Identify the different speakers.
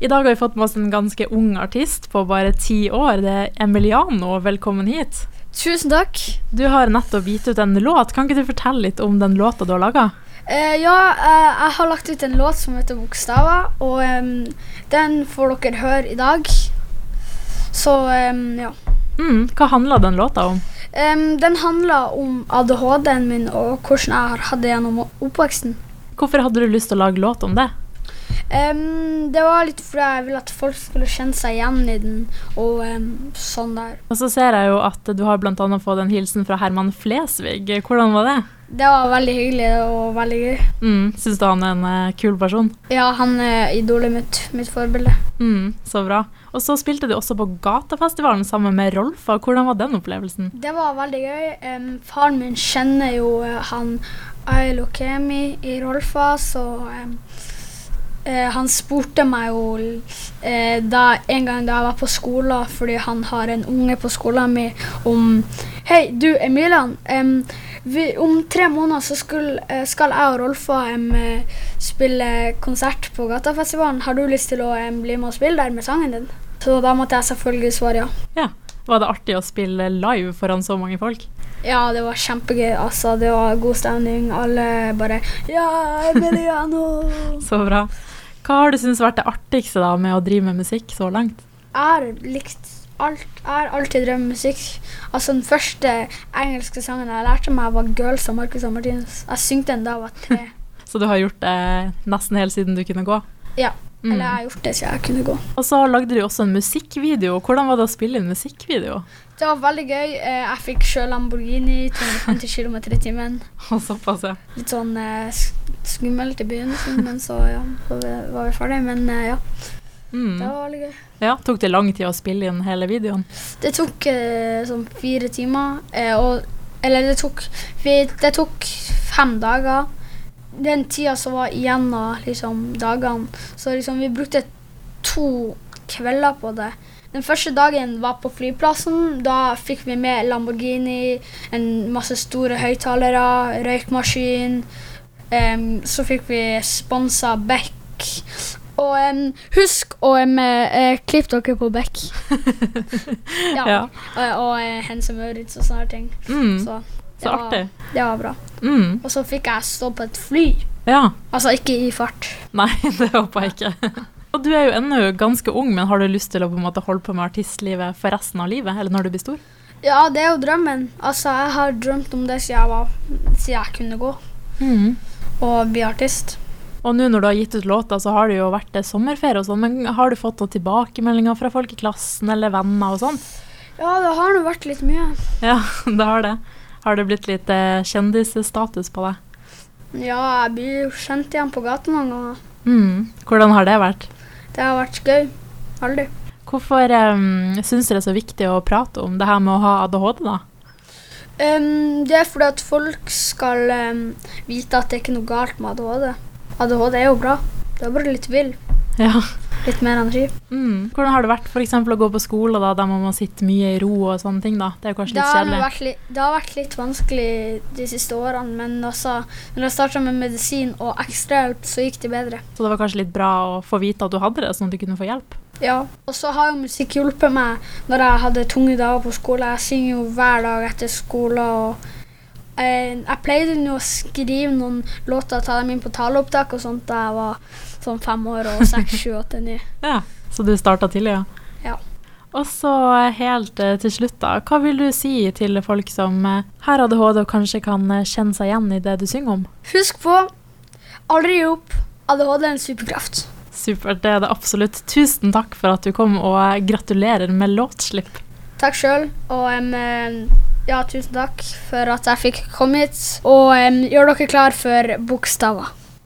Speaker 1: I dag har vi fått med oss en ganske ung artist på bare ti år. Det er Emiliano, velkommen hit.
Speaker 2: Tusen takk.
Speaker 1: Du har nettopp gitt ut en låt. Kan ikke du fortelle litt om den låta du har laga?
Speaker 2: Eh, ja, eh, jeg har lagt ut en låt som heter 'Bokstaver', og em, den får dere høre i dag. Så em, ja.
Speaker 1: Mm, hva handla den låta om?
Speaker 2: Em, den handler om ADHD-en min og hvordan jeg har hatt det gjennom oppveksten.
Speaker 1: Hvorfor hadde du lyst til å lage låt om det?
Speaker 2: Em, det var litt fordi jeg ville at folk skulle kjenne seg igjen i den, og em, sånn der.
Speaker 1: Og så ser jeg jo at du har bl.a. fått en hilsen fra Herman Flesvig. Hvordan var det?
Speaker 2: Det var veldig hyggelig og veldig gøy.
Speaker 1: Mm, Syns du han er en eh, kul person?
Speaker 2: Ja, han er idolet mitt, mitt forbilde.
Speaker 1: Mm, så bra. Og så spilte du også på Gatafestivalen sammen med Rolfa. Hvordan var den opplevelsen?
Speaker 2: Det var veldig gøy. Em, faren min kjenner jo eh, han Ailo Kemi i Rolfa, så em, eh, han spurte meg jo eh, da, en gang da jeg var på skolen, fordi han har en unge på skolen min, om Hei, du Emilian. em, vi, om tre måneder så skulle, eh, skal jeg og Rolfa em, eh, spille konsert på Gatafestivalen. Har du lyst til å em, bli med og spille der med sangen din? Så da måtte jeg selvfølgelig svare ja.
Speaker 1: Var det artig å spille live foran så mange folk?
Speaker 2: Ja, det var kjempegøy. altså. Det var god stemning. Alle bare Ja, Emiliano!
Speaker 1: Så bra. Hva har du syntes vært det artigste da med å drive med musikk så langt?
Speaker 2: Jeg har likt alt. Jeg har alltid drevet med musikk. Altså, Den første engelske sangen jeg lærte meg, var 'Girls' av Marcus og Martinus. Jeg syngte den da jeg var tre.
Speaker 1: Så du har gjort det nesten helt siden du kunne gå?
Speaker 2: Ja. Eller jeg
Speaker 1: Mm.
Speaker 2: har gjort det siden jeg kunne gå.
Speaker 1: Og så lagde du også en musikkvideo. Hvordan var det å spille en musikkvideo?
Speaker 2: Det var veldig gøy. Eh, Jeg fikk sjøl Lamborghini 250 km i timen.
Speaker 1: Og såpass, ja.
Speaker 2: Litt sånn eh, sk- skummelt i begynnelsen, men så ja, så var vi ferdig. Men eh, ja, det
Speaker 1: Mm.
Speaker 2: var veldig gøy.
Speaker 1: ja. Tok det lang tid å spille inn hele videoen?
Speaker 2: Det tok eh, sånn fire timer. Eh, og, eller det tok, vi, det tok fem dager. Den tida som var igjen av liksom, dagene. Så liksom, vi brukte to kvelder på det. Den første dagen var på flyplassen. Da fikk vi med Lamborghini, en masse store høyttalere, røykmaskin. Em, så fikk vi sponsa Beck. Og em, husk å um, klippe dere på Beck. ja. Og, og eh, Hense Maurits og sånne ting.
Speaker 1: Mm.
Speaker 2: Så
Speaker 1: Så
Speaker 2: var-
Speaker 1: artig.
Speaker 2: det var bra.
Speaker 1: Mm.
Speaker 2: Og så fikk jeg stå på et fly.
Speaker 1: Ja.
Speaker 2: Altså ikke i fart.
Speaker 1: Nei, det håper jeg ikke. Og du er jo ennå ganske ung, men har du lyst til å på en måte holde på med artistlivet for resten av livet? Eller når du blir stor?
Speaker 2: Ja, det er jo drømmen. Altså, jeg har drømt om det siden jeg, var, siden jeg kunne gå
Speaker 1: Mm.
Speaker 2: og bli artist.
Speaker 1: Og nå når du har gitt ut låta, så har det jo vært eh, sommerferie og sånn, men har du fått noen tilbakemeldinger fra folk i klassen eller venner og sånn?
Speaker 2: Ja, det har nå vært litt mye.
Speaker 1: Ja, det har det. Har det blitt litt eh, kjendisstatus på deg?
Speaker 2: Ja, jeg blir jo kjent igjen på gata noen ganger.
Speaker 1: Mm. Hvordan har det vært?
Speaker 2: Det har vært gøy. Aldri.
Speaker 1: Hvorfor um, syns du det er så viktig å prate om det her med å ha ADHD, da?
Speaker 2: Em, det er fordi at folk skal em, vite at det er ikke noe galt med ADHD. ADHD er jo bra. Det er bare litt vill.
Speaker 1: Ja.
Speaker 2: Litt mer energi.
Speaker 1: Mm. Hvordan har det vært f.eks. å gå på skole, da, der man må sitte mye i ro og sånne ting, da? Det er jo kanskje
Speaker 2: Det
Speaker 1: litt
Speaker 2: har,
Speaker 1: kjedelig.
Speaker 2: vært litt, det har vært litt vanskelig de siste årene, men også når jeg starta med medisin og ekstrahjelp, så gikk det bedre.
Speaker 1: Så det var kanskje litt bra å få vite at du hadde det, sånn at du kunne få hjelp?
Speaker 2: Ja. Og så har jo musikk hjulpet meg når jeg hadde tunge dager på skole. Jeg synger jo hver dag etter skole. og eh, jeg pleide nå å skrive noen låter og ta dem inn på taleopptak og sånt da jeg var sånn fem år og seks, sju, åtte, ni.
Speaker 1: Ja, så du starta tidlig, ja?
Speaker 2: Ja.
Speaker 1: Og så eh, helt eh, til slutt, da. Hva vil du si til folk som eh, har ADHD og kanskje kan eh, kjenne seg igjen i det du synger om?
Speaker 2: Husk på aldri gi opp. ADHD er en superkraft.
Speaker 1: Supert, det er det absolutt. Tusen takk for at du kom, og eh, gratulerer med låtslipp.
Speaker 2: Takk sjøl, og em, em, ja, tusen takk for at jeg fikk komme hit. Og em, gjør dere klar for bokstaver.